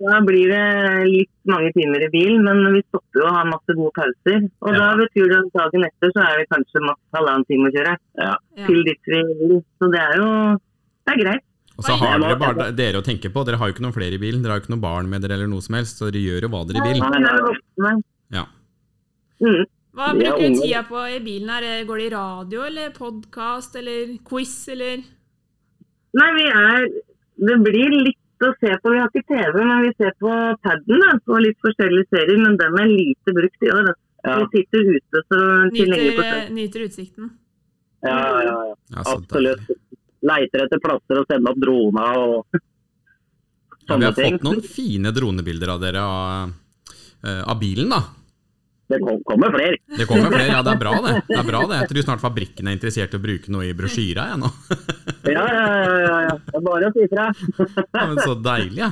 Speaker 3: Da blir det litt mange timer i bilen, men vi stopper jo å ha masse gode pauser. Og
Speaker 2: Ja.
Speaker 3: da betyr det at dagen etter så er det kanskje maks halvannen time å kjøre.
Speaker 1: Ja.
Speaker 3: til dit vi vil. Så det er jo det er greit.
Speaker 2: Og så har dere bare dere å tenke på. Dere har jo ikke noen flere i bilen. Dere har jo ikke noen barn med dere eller noe som helst, så dere gjør jo hva dere vil.
Speaker 3: Men jeg er voksen, jeg.
Speaker 2: Ja.
Speaker 3: Mm.
Speaker 1: Hva
Speaker 4: Vi er
Speaker 1: bruker du
Speaker 4: unge.
Speaker 1: tida på i bilen her? Går det i radio, eller podkast, eller quiz, eller
Speaker 3: Nei, vi er Det blir litt å se på. Vi har ikke TV, men vi ser på paden da, på litt forskjellige serier. Men den er lite brukt i år. Da.
Speaker 4: Ja,
Speaker 3: Vi sitter ute så til lenge på
Speaker 1: nyter, nyter utsikten?
Speaker 4: ja, ja, ja.
Speaker 2: Ja, så
Speaker 4: absolutt.
Speaker 2: deilig.
Speaker 4: Leiter etter plasser og sender opp drona og
Speaker 2: Ja, vi
Speaker 4: sånne
Speaker 2: har
Speaker 4: ting.
Speaker 2: fått noen fine dronebilder av dere av, eh, av bilen, da.
Speaker 4: Det kom- kommer flere.
Speaker 2: Det kommer flere. Ja, det er bra, det. det, er bra, det. Jeg tror snart fabrikken er interessert i å bruke noe i brosjyra, jeg nå.
Speaker 4: Ja, ja, ja. ja, ja. Det er bare å si fra.
Speaker 2: Ja, men så deilig, ja.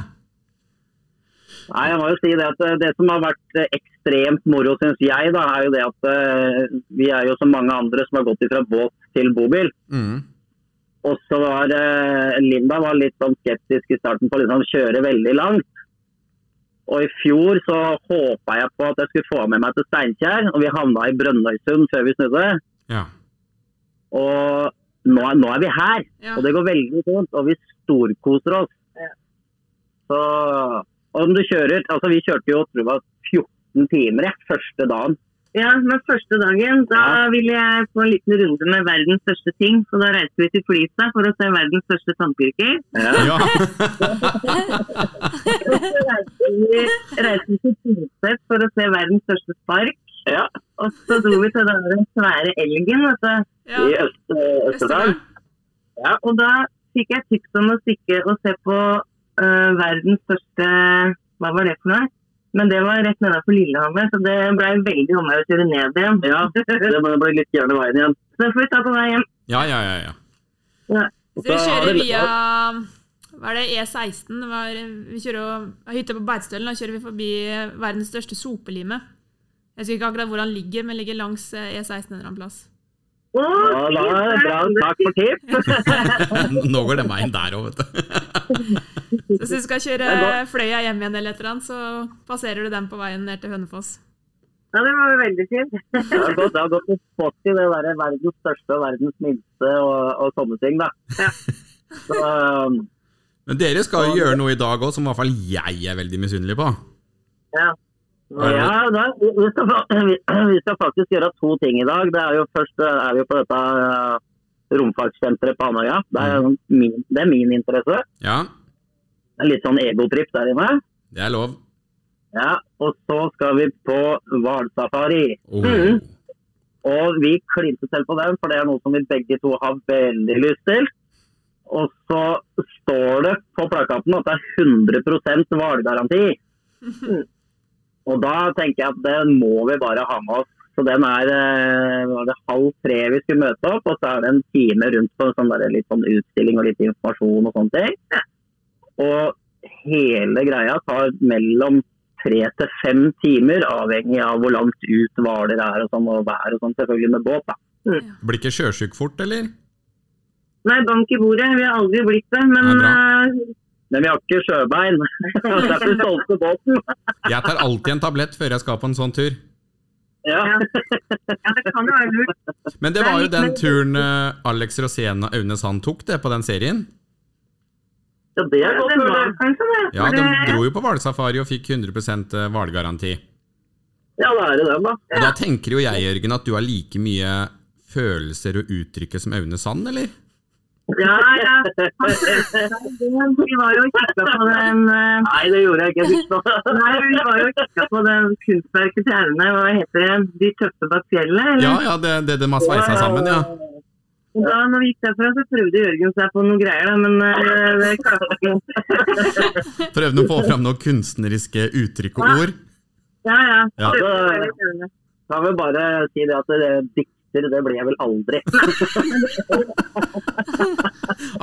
Speaker 4: Nei, jeg må jo si Det at eh, det som har vært eh, ekstremt moro, syns jeg, da, er jo det at eh, vi er jo som mange andre som har gått fra båt til bobil.
Speaker 2: Mm.
Speaker 4: Og så var eh, Linda var litt sånn skeptisk i starten på å liksom kjøre veldig langt. Og i fjor så håpa jeg på at jeg skulle få med meg til Steinkjer, og vi havna i Brønnøysund før vi snudde.
Speaker 2: Ja.
Speaker 4: Og nå er, nå er vi her,
Speaker 1: Ja.
Speaker 4: og det går veldig fint. Og vi storkoser oss. Så og om du kjører Altså, vi kjørte jo tror jeg det var 14 timer jeg, første dagen.
Speaker 3: Ja, men første dagen da ville jeg få en liten runde med verdens største ting. Så da reiste vi til Flisa for å se verdens største tannpirker.
Speaker 2: ja.
Speaker 3: Så reiste vi reiste vi til Tynset for å se verdens største spark.
Speaker 4: Ja.
Speaker 3: Og så dro vi til den der svære elgen, vet du.
Speaker 1: Ja.
Speaker 4: I Øst- Østerdal.
Speaker 1: Østerdalen.
Speaker 3: Og da fikk jeg tips om å stikke og se på eh, verdens største Hva var det for noe? Men det var rett nedenfor Lillehammer, så det ble veldig om å gjøre å kjøre ned igjen.
Speaker 4: Ja, det må bli litt gærne veien igjen.
Speaker 3: Så det får vi ta på vei hjem.
Speaker 2: Ja, ja, ja, ja.
Speaker 1: Så vi
Speaker 4: Da er
Speaker 1: kjører
Speaker 4: det-
Speaker 1: via hva er det, E16? Hva er, vi kjører jo- av hytta på Beitstølen, da kjører vi forbi eh, verdens største sopelime. Jeg husker ikke akkurat hvor han ligger, men ligger langs eh, E16 en eller annen plass.
Speaker 3: Å,
Speaker 4: Ja, da,
Speaker 3: fint,
Speaker 4: bra.
Speaker 3: det er
Speaker 4: Takk for tips.
Speaker 2: Nå går den veien der òg, vet du.
Speaker 1: Så hvis du skal kjøre Fløya hjem igjen eller et eller annet, så passerer du den på veien ned til Hønefoss.
Speaker 3: Ja, det var jo veldig fint.
Speaker 4: Det har gått, det har gått litt sport i det der verdens største og verdens minste og, og sånne ting. da. Så, um,
Speaker 2: Men dere skal jo gjøre noe i dag òg som i hvert fall jeg er veldig misunnelig på. Hva er det?
Speaker 4: Ja, da, vi, vi skal, fa- vi, vi skal faktisk gjøre to ting i dag. Det er jo Først eh, er vi på dette eh, romfartssenteret på Andøya. Det, er jo min- det er min interesse.
Speaker 2: Ja,
Speaker 4: Det er Litt sånn egotripp der inne.
Speaker 2: det er lov.
Speaker 4: Ja, Og så skal vi på hvalsafari.
Speaker 2: Oh.
Speaker 4: Mhm. Og vi klinte til på den, for det er noe som vi begge to har veldig lyst til. Og så står det på plakaten at det er 100 hvalgaranti. Og da tenker jeg at den må vi bare ha med oss. Så den er eh, var det halv tre vi skulle møte opp, og så er det en time rundt på en sånn der, litt sånn utstilling og litt informasjon og sånne ting. Og hele greia tar mellom tre til fem timer, avhengig av hvor langt ut hvaler er og sånn, og vær og sånn, selvfølgelig med båt. da.
Speaker 2: Blir ikke sjøsjuk fort, eller?
Speaker 3: Nei, bank i bordet. Vi har aldri blitt det. Men
Speaker 2: Nei, bra.
Speaker 3: eh,
Speaker 4: Men vi har ikke sjøbein. Derfor solgte båten.
Speaker 2: Jeg tar alltid en tablett før jeg skal på en sånn tur.
Speaker 4: Ja.
Speaker 3: ja, det kan jo være lurt.
Speaker 2: Men det var jo den turen eh, Alex Rosén og Aune Sand tok det på den serien.
Speaker 4: ja, det
Speaker 3: Ja,
Speaker 4: er godt eh,
Speaker 3: det var
Speaker 4: mulig.
Speaker 3: kanskje det.
Speaker 2: Ja,
Speaker 3: for
Speaker 2: De
Speaker 3: det-
Speaker 2: dro jo på hvalsafari og fikk 100 hvalgaranti.
Speaker 4: Ja, da er det den, da.
Speaker 2: Og Da tenker jo jeg, Jørgen, at du har like mye følelser og uttrykket som Aune Sand, eller?
Speaker 3: Ja, ja. Vi var jo og kikka på den eh,
Speaker 4: Nei, det gjorde jeg ikke. Husk nå.
Speaker 3: Nei, vi var jo og kikka på den kunstverket til Aune. Hva heter det? De tøffe bak fjellet? eller?
Speaker 2: Ja, ja, det, det de har sveisa sammen, ja.
Speaker 3: Da når vi gikk derfra, så prøvde Jørgen seg på noen greier, da, men eh, det klarte han ikke.
Speaker 2: Prøvde å få fram noen kunstneriske uttrykk og ord.
Speaker 3: Ja, ja.
Speaker 2: Ja.
Speaker 4: Kan vi bare si det at det, dikter, det blir jeg vel aldri.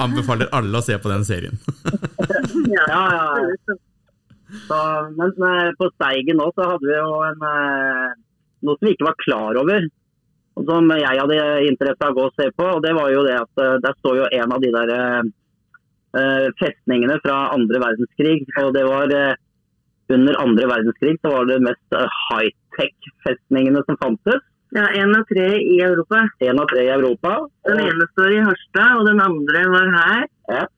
Speaker 2: Anbefaler alle å se på den serien.
Speaker 4: Ja, ja. liksom- Så, men eh, på Steigen nå så hadde vi jo en, eh, noe som vi ikke var klar over. Og som jeg hadde interesse av å gå og se på. og Det var jo det at eh, der står jo en av de der eh, eh, festningene fra andre verdenskrig. Og det var eh, under andre verdenskrig så var det mest eh, high-tech-festningene som fantes.
Speaker 3: ja, en av tre i Europa.
Speaker 4: En av tre i Europa.
Speaker 3: Den
Speaker 4: Og,
Speaker 3: ene står i Harstad, og den andre var her
Speaker 4: Ja.
Speaker 3: eh,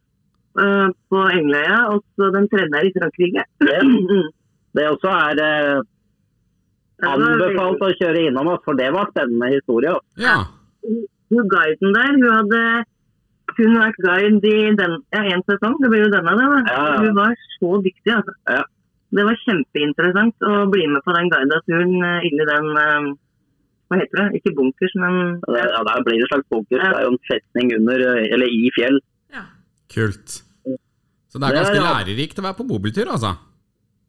Speaker 3: på Engeløya. Og så den tredje er i Frankrike.
Speaker 4: Ja. det også er eh,
Speaker 3: Det var
Speaker 4: anbefalt
Speaker 3: veldig-
Speaker 4: å kjøre innom, altså, for det var spennende historie. altså.
Speaker 2: Ja.
Speaker 3: Hun guiden der, hun hadde kun vært guide i den, ja, en sesong, det blir jo denne da. da.
Speaker 4: Ja, ja.
Speaker 3: Hun var så dyktig, altså.
Speaker 4: Ja.
Speaker 3: Det var kjempeinteressant å bli med på den guida turen eh, inn i den, eh, hva heter det, ikke bunkers, men
Speaker 4: Ja, det- ja, der blir det en slags fokus. Det er jo en festning under, eh, eller i fjell.
Speaker 1: Ja.
Speaker 2: Kult. Så det er
Speaker 4: Det er
Speaker 2: ganske
Speaker 4: ja.
Speaker 2: lærerikt å være på bobiltur, altså.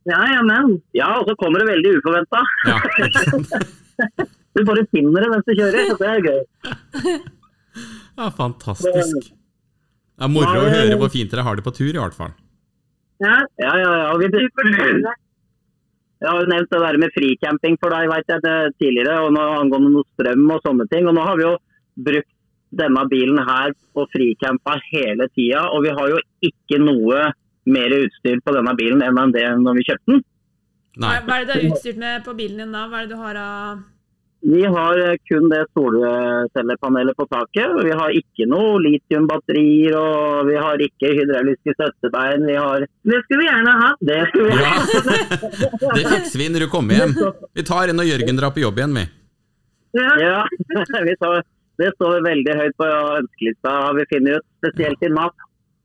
Speaker 3: ja, ja, men.
Speaker 4: Ja, og så kommer det veldig uforventa.
Speaker 2: Ja, ikke sant?
Speaker 4: Du bare finner det mens du kjører. Så det er gøy.
Speaker 2: Ja, fantastisk. Det er moro å høre hvor fint dere har det på tur, i hvert fall.
Speaker 3: Ja,
Speaker 4: Ja, ja, ja. Vi,
Speaker 3: du forteller det.
Speaker 4: jeg har jo nevnt det der med fricamping for deg vet jeg, det tidligere, og nå angående noe strøm og sånne ting. Og nå har vi jo brukt denne bilen her og fricampa hele tida, og vi har jo ikke noe mer utstyr på denne bilen enn det når vi kjøpte den.
Speaker 2: Nei.
Speaker 1: Hva hva er det du er utstyrt med på bilen din da? Hva er det du har av
Speaker 4: Vi har eh, kun det solcellepanelet på taket. Vi har ikke noe litiumbatterier og vi har ikke hydrauliske støttebein. Vi har
Speaker 3: Det skulle vi gjerne hatt.
Speaker 4: det skulle vi
Speaker 2: Ja. Det fikser vi når du kommer hjem. Vi tar en når Jørgen drar på jobb igjen, vi.
Speaker 3: Ja.
Speaker 4: ja. vi tar, det står veldig høyt på ønskelista, har vi funnet ut. Spesielt i natt.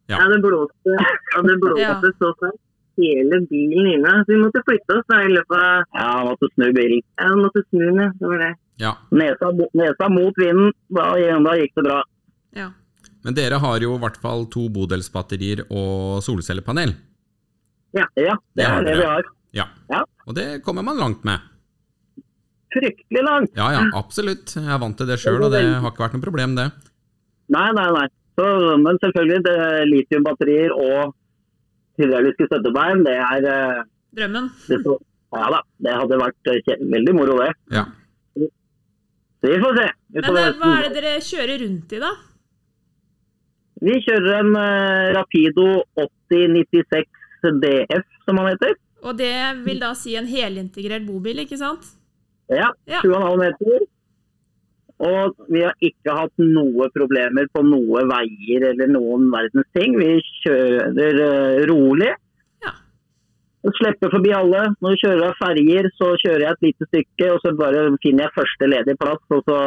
Speaker 2: Ja.
Speaker 3: Ja, det blåste, ja, det blåste så fælt. Hele bilen inne. Så vi måtte flytte oss da i løpet av,
Speaker 4: Ja, måtte snu bilen.
Speaker 3: ja, vi måtte snu den, ja. det var det.
Speaker 2: Ja.
Speaker 4: Nesa, mot- nesa mot vinden. Da, da gikk det bra.
Speaker 1: Ja.
Speaker 2: Men dere har jo i hvert fall to bodelsbatterier og solcellepanel.
Speaker 4: Ja, det
Speaker 2: Det har
Speaker 4: er det
Speaker 2: dere.
Speaker 4: vi har.
Speaker 2: Ja.
Speaker 4: Ja.
Speaker 2: Og det kommer man langt med.
Speaker 4: Fryktelig langt.
Speaker 2: Ja ja, absolutt. Jeg er vant til det sjøl, og det har ikke vært noe problem, det.
Speaker 4: Nei, nei, nei. Så, men selvfølgelig, det, litiumbatterier og hydrauliske støttebein, det er eh,
Speaker 1: drømmen?
Speaker 4: Det så, ja da, det hadde vært eh, kje- veldig moro det.
Speaker 2: Ja.
Speaker 4: Så vi får se.
Speaker 1: Men
Speaker 4: utover
Speaker 1: eh, hva
Speaker 4: høsten.
Speaker 1: er det dere kjører rundt i, da?
Speaker 4: Vi kjører en eh, Rapido 8096 DF, som han heter.
Speaker 1: Og det vil da si en helintegrert bobil, ikke sant?
Speaker 4: Ja,
Speaker 1: Ja.
Speaker 4: 7,5 meter. Og vi har ikke hatt noe problemer på noen veier eller noen verdens ting. Vi kjører eh, rolig.
Speaker 1: Ja.
Speaker 3: Slippe forbi alle. Når vi kjører av ferger, så kjører jeg et lite stykke, og så bare finner jeg første ledige plass. og så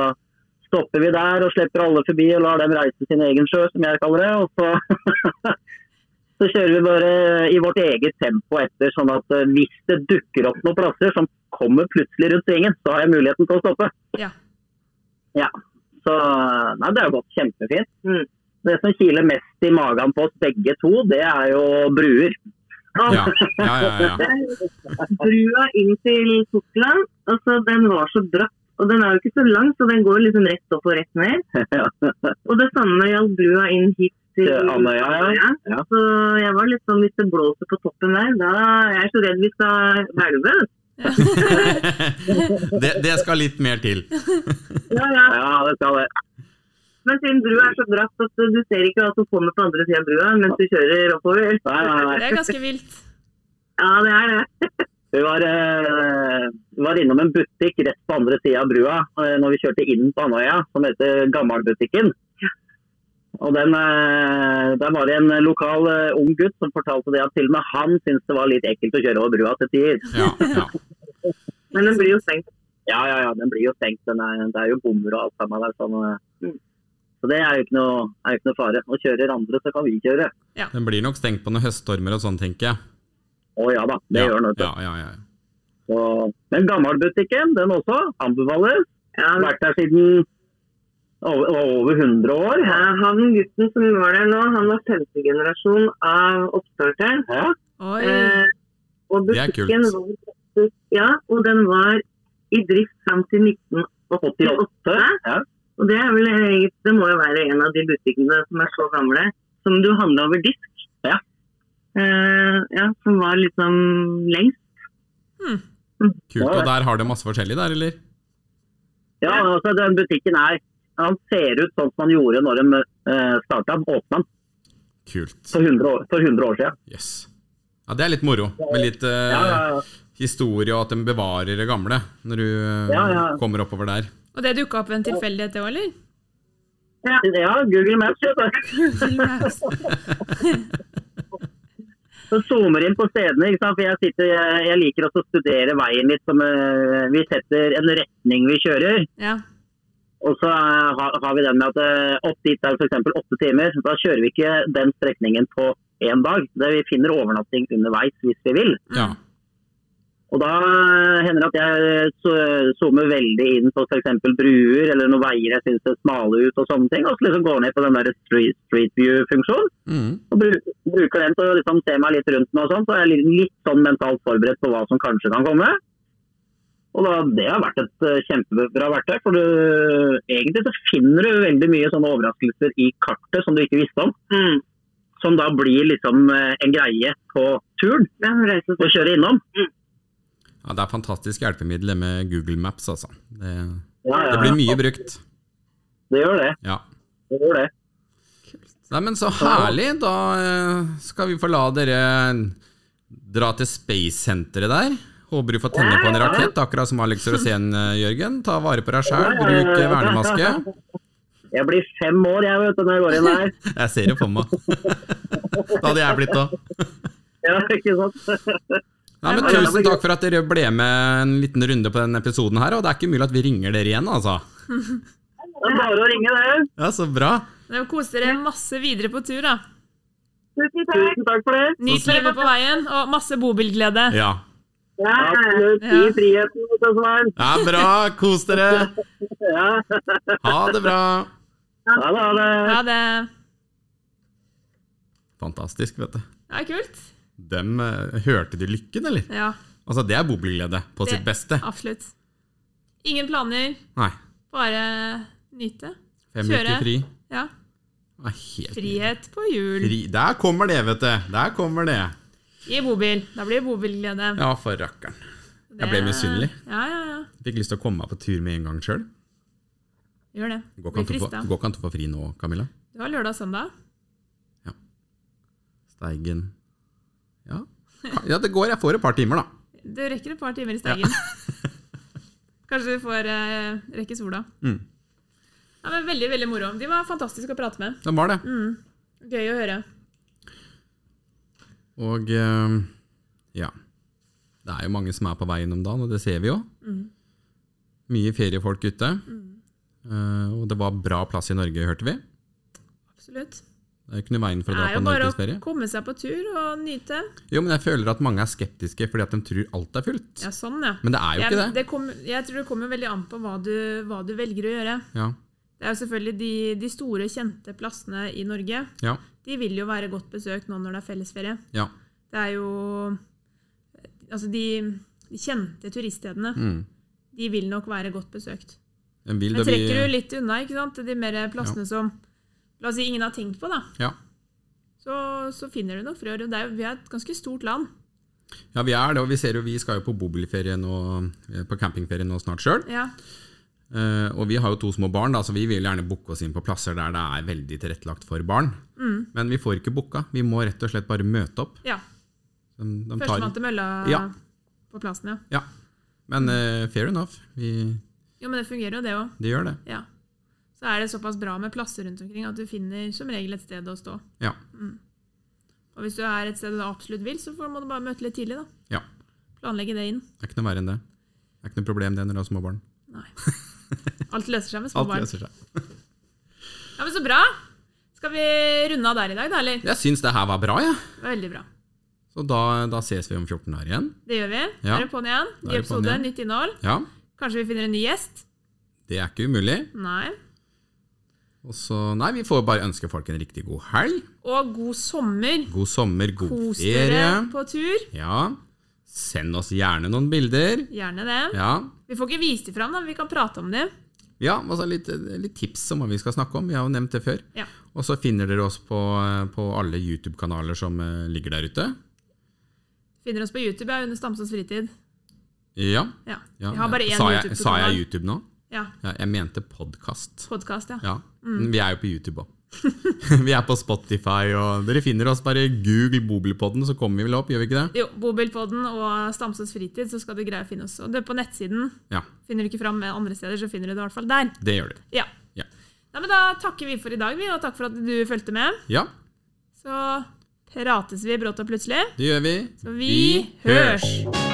Speaker 3: stopper vi der og slipper alle forbi og lar dem reise sin egen sjø, som jeg kaller det. Og så, så kjører vi bare i vårt eget tempo etter, sånn at eh, hvis det dukker opp noen plasser som kommer plutselig rundt svingen, så har jeg muligheten til å stoppe.
Speaker 1: Ja.
Speaker 3: Ja. Så nei, det har gått kjempefint. Det som kiler mest i magen på oss begge to, det er jo bruer.
Speaker 2: Ja, ja, ja. ja, ja.
Speaker 4: brua inn til Sortland. Altså, den var så bratt. Og den er jo ikke så lang, så den går liksom rett opp og rett ned.
Speaker 3: Ja.
Speaker 4: Og det samme gjaldt brua inn hit til
Speaker 3: Til Andøya, ja. Ja.
Speaker 4: Så jeg var litt sånn hvis det blåser på toppen der, da jeg er så redd vi skal hvelve.
Speaker 2: det, det skal litt mer til.
Speaker 4: Ja, ja.
Speaker 3: ja, det skal det.
Speaker 4: Men siden brua er så bratt at du ser ikke hva som kommer på andre siden av brua mens du kjører oppover.
Speaker 3: Nei, nei, nei.
Speaker 1: Det er ganske vilt.
Speaker 4: Ja, det er det.
Speaker 3: Vi var, eh, vi var innom en butikk rett på andre sida av brua eh, når vi kjørte inn på Andøya, som heter Gammalbutikken. Og den, eh, Der var det en lokal eh, ung gutt som fortalte det at til og med han syntes det var litt ekkelt å kjøre over brua til tider.
Speaker 2: Ja, ja.
Speaker 4: Men den blir jo stengt.
Speaker 3: Ja, ja, ja, den blir jo stengt. Den er, det er jo bommer og alt sammen der. Sånn, eh. så det er jo ikke noe, er jo ikke noe fare. Nå kjører andre, så kan vi kjøre.
Speaker 2: Den blir nok stengt på noen høststormer og sånn, tenker jeg.
Speaker 3: Å ja da, det
Speaker 2: ja,
Speaker 3: gjør den. vet du.
Speaker 2: Ja, ja, ja.
Speaker 3: Så- Men Gammalbutikken, den også, anbefales.
Speaker 4: Ja,
Speaker 3: har vært der siden over, over 100 år.
Speaker 4: ja, han gutten som var der nå, han var femte generasjon av oppstarteren.
Speaker 3: Ja,
Speaker 1: Oi.
Speaker 4: Eh, og
Speaker 2: Det er
Speaker 4: butikken
Speaker 2: kult.
Speaker 4: var faktisk- Ja, og den var i drift fram til 1988.
Speaker 3: 88. Ja.
Speaker 4: Og det, er vel, egentlig- det må jo være en av de butikkene som er så gamle, som du handla over disk.
Speaker 3: Ja.
Speaker 4: Eh, ja, som var liksom lengst.
Speaker 1: Hm.
Speaker 2: Kult. Og der har det masse forskjellig der, eller?
Speaker 3: ja, altså den butikken er han ser ut sånn som han gjorde når de eh, starta, åpna den
Speaker 2: Kult.
Speaker 3: for 100 år, for 100 år siden.
Speaker 2: Jøss. Yes. Ja, det er litt moro. Med litt eh,
Speaker 3: Ja, ja, ja.
Speaker 2: historie og at de bevarer det gamle når du eh,
Speaker 3: Ja, ja.
Speaker 2: kommer oppover der.
Speaker 1: Og det dukka opp ved en tilfeldighet, det òg, eller?
Speaker 3: ja Google Maps. vet du.
Speaker 1: Google Maps.
Speaker 3: Så zoomer inn på stedene. Ikke sant? For jeg, sitter, jeg, jeg liker også å studere veien litt. Som, eh, vi setter en retning vi kjører.
Speaker 1: Ja.
Speaker 3: Og så eh, har, har vi den med at eh, opp dit er f.eks. åtte timer. Da kjører vi ikke den strekningen på én dag. Det vi finner overnatting underveis hvis vi vil.
Speaker 2: Ja.
Speaker 3: Og da eh, hender det at jeg så- eh, zoomer veldig inn på f.eks. bruer eller noen veier jeg syns ser smale ut og sånne ting. Og så liksom går ned på den der street, street view-funksjonen.
Speaker 2: Mm.
Speaker 3: Og bruker, bruker den til å liksom se meg litt rundt meg og sånn. Så er jeg litt, litt sånn mentalt forberedt på hva som kanskje kan komme. Og da, det har vært et eh, kjempebra verktøy. For du, egentlig så finner du veldig mye sånne overraskelser i kartet som du ikke visste om.
Speaker 4: Mm.
Speaker 3: Som da blir liksom eh, en greie på turen
Speaker 4: Ja, hun reiste
Speaker 3: å kjøre innom.
Speaker 2: ja, det er fantastisk hjelpemiddel det med Google Maps, altså. Det,
Speaker 3: Ja, ja,
Speaker 2: det blir mye brukt.
Speaker 3: Det gjør det.
Speaker 2: Ja.
Speaker 3: det, gjør det.
Speaker 2: Nei, men så herlig. Da eh, skal vi få la dere eh, dra til Space-senteret der. Håper du får tenne på en rakett, akkurat som Alex Rosén, eh, Jørgen. Ta vare på deg sjæl, bruk eh, vernemaske.
Speaker 3: Jeg blir fem år jeg vet du, når jeg går inn her.
Speaker 2: Jeg ser det for meg. Det hadde jeg blitt òg.
Speaker 3: Ja, ikke sant?
Speaker 2: Nei, men Tusen takk for at dere ble med en liten runde på denne episoden her. Og det er ikke mulig at vi ringer dere igjen, altså.
Speaker 3: Det er bare å ringe, det.
Speaker 2: Ja, så bra.
Speaker 1: Det koser dere masse videre på tur, da.
Speaker 4: Tusen takk!
Speaker 3: Tusen takk for det.
Speaker 1: Nyt livet på veien, og masse bobilglede.
Speaker 2: Ja,
Speaker 4: Ja,
Speaker 3: Absolutt. I
Speaker 1: Ja.
Speaker 3: friheten, vet du, Svein.
Speaker 2: ja bra. Kos dere.
Speaker 3: Ja.
Speaker 2: Ha det bra.
Speaker 3: Ha det, ha det.
Speaker 1: Ja, det
Speaker 2: Fantastisk, vet du.
Speaker 1: ja, kult.
Speaker 2: Dem, eh, hørte du lykken, eller?
Speaker 1: Ja,
Speaker 2: Altså, det er bobilglede på sitt
Speaker 1: Det-
Speaker 2: beste.
Speaker 1: absolutt. Ingen planer,
Speaker 2: Nei.
Speaker 1: bare nyte.
Speaker 2: Fem
Speaker 1: Kjøre.
Speaker 2: uker fri.
Speaker 1: Ja.
Speaker 2: Det er helt
Speaker 1: Frihet på hjul
Speaker 2: fri. Der kommer det, vet du. Der kommer det.
Speaker 1: i bobil. Da blir det bobilglede.
Speaker 2: Ja, for rakkeren. Jeg ble
Speaker 1: Det-
Speaker 2: misunnelig.
Speaker 1: Ja, ja, ja.
Speaker 2: Fikk lyst til å komme meg på tur med en gang sjøl.
Speaker 1: Gjør det.
Speaker 2: Går
Speaker 1: Blir
Speaker 2: ikke an til å
Speaker 1: frista.
Speaker 2: få- går ikke an til å få fri nå, Camilla?
Speaker 1: Du har lørdag og søndag.
Speaker 2: Steigen Ja. ja, det går. Jeg får et par timer, da.
Speaker 1: Du rekker et par timer i stegen. Kanskje du får eh, rekke sola.
Speaker 2: Mm.
Speaker 1: Ja, men veldig, veldig moro. De var fantastiske å prate med.
Speaker 2: Det Sånn var det.
Speaker 1: Mm. Gøy å høre.
Speaker 2: Og eh, ja. Det er jo mange som er på veien om dagen, og det ser vi jo.
Speaker 1: Mm.
Speaker 2: Mye feriefolk ute.
Speaker 1: Mm.
Speaker 2: Eh, og det var bra plass i Norge, hørte vi. Det
Speaker 1: Absolutt.
Speaker 2: er jo ikke noe veien for
Speaker 1: Det
Speaker 2: å dra
Speaker 1: er
Speaker 2: på
Speaker 1: jo bare å
Speaker 2: norgesferie.
Speaker 1: komme seg på tur og nyte.
Speaker 2: Jo, men jeg føler at mange er skeptiske fordi at de tror alt er fullt.
Speaker 1: Ja, sånn, ja.
Speaker 2: Men det er jo
Speaker 1: Jeg,
Speaker 2: ikke det.
Speaker 1: det kom, jeg tror det kommer veldig an på hva du, hva du velger å gjøre.
Speaker 2: Ja,
Speaker 1: Det er jo selvfølgelig de, de store, kjente plassene i Norge.
Speaker 2: ja,
Speaker 1: De vil jo være godt besøkt nå når det er fellesferie.
Speaker 2: ja.
Speaker 1: Det er jo Altså, de, de kjente turiststedene,
Speaker 2: Mm.
Speaker 1: de vil nok være godt besøkt.
Speaker 2: En vil
Speaker 1: Men
Speaker 2: da bli
Speaker 1: trekker du litt unna, ikke sant, de mer plassene som La oss si ingen har tenkt på, da.
Speaker 2: Ja.
Speaker 1: Så, så finner du nok frø. Det er jo- Vi er et ganske stort land.
Speaker 2: Ja, vi er det, og vi ser jo vi skal jo på bobilferie nå, eh, på campingferie nå snart sjøl.
Speaker 1: Ja.
Speaker 2: Eh, og vi har jo to små barn, da, så vi vil gjerne booke oss inn på plasser der det er veldig tilrettelagt for barn.
Speaker 1: Mm.
Speaker 2: Men vi får ikke booka. Vi må rett og slett bare møte opp.
Speaker 1: ja.
Speaker 2: De, de tar,
Speaker 1: Førstemann til mølla
Speaker 2: Ja.
Speaker 1: på plassen, ja.
Speaker 2: ja. Men eh, fair enough. Vi,
Speaker 1: Jo, men det fungerer jo, det òg.
Speaker 2: de gjør det.
Speaker 1: Ja. Så er det såpass bra med plasser rundt omkring at du finner som regel et sted å stå.
Speaker 2: Ja.
Speaker 1: Og hvis du er et sted du absolutt vil, så får- må du bare møte litt tidlig, da.
Speaker 2: ja.
Speaker 1: Planlegge det inn.
Speaker 2: Det er ikke noe verre enn det. Det er ikke noe problem det når du har små barn.
Speaker 1: Nei. Alt løser seg med små
Speaker 2: Alt
Speaker 1: barn.
Speaker 2: løser seg.
Speaker 1: Ja, men så bra! Skal vi runde av der i dag, da, eller? Det
Speaker 2: Jeg syns det her var bra, jeg. Ja.
Speaker 1: var veldig bra.
Speaker 2: Så da, da ses vi om 14 dager igjen.
Speaker 1: Det gjør vi.
Speaker 2: Ja.
Speaker 1: Da er det på'n igjen.
Speaker 2: Da
Speaker 1: Ny
Speaker 2: er det på'n
Speaker 1: episode,
Speaker 2: igjen.
Speaker 1: nytt innhold.
Speaker 2: Ja,
Speaker 1: Kanskje vi finner en ny gjest?
Speaker 2: det er ikke umulig.
Speaker 1: Nei.
Speaker 2: Og så, nei, vi får bare ønske folk en riktig god helg.
Speaker 1: Og god sommer.
Speaker 2: God sommer, god
Speaker 1: Kos
Speaker 2: ferie.
Speaker 1: dere på tur.
Speaker 2: Ja. Send oss gjerne noen bilder.
Speaker 1: Gjerne det.
Speaker 2: Ja.
Speaker 1: Vi får ikke vist det fram, da, men vi kan prate om det.
Speaker 2: Ja, altså litt, litt tips om hva vi skal snakke om. Vi har jo nevnt det før.
Speaker 1: Ja.
Speaker 2: Og så finner dere oss på, på alle YouTube-kanaler som eh, ligger der ute.
Speaker 1: Finner oss på YouTube ja, under Stamsås fritid.
Speaker 2: Ja.
Speaker 1: Ja.
Speaker 2: ja.
Speaker 1: Vi har bare én
Speaker 2: sa, jeg, sa
Speaker 1: YouTube-kanal.
Speaker 2: jeg YouTube nå?
Speaker 1: Ja.
Speaker 2: Ja, jeg mente podkast.
Speaker 1: Podkast, ja.
Speaker 2: Ja.
Speaker 1: Mm.
Speaker 2: Men Vi er jo på YouTube òg. vi er på Spotify, og dere finner oss. Bare google Bobilpodden, så kommer vi vel opp, gjør vi ikke det?
Speaker 1: Jo, Bobilpodden og Stamsås fritid, så skal du greie å finne oss. Og det er på nettsiden.
Speaker 2: Ja,
Speaker 1: Finner du ikke fram andre steder, så finner du det i hvert fall der.
Speaker 2: det gjør dere.
Speaker 1: Ja.
Speaker 2: Ja.
Speaker 1: Nei, men da takker vi for i dag, vi, og takk for at du fulgte med.
Speaker 2: Ja,
Speaker 1: Så prates vi brått og plutselig.
Speaker 2: det gjør vi.
Speaker 1: Så vi hørs!
Speaker 2: hørs.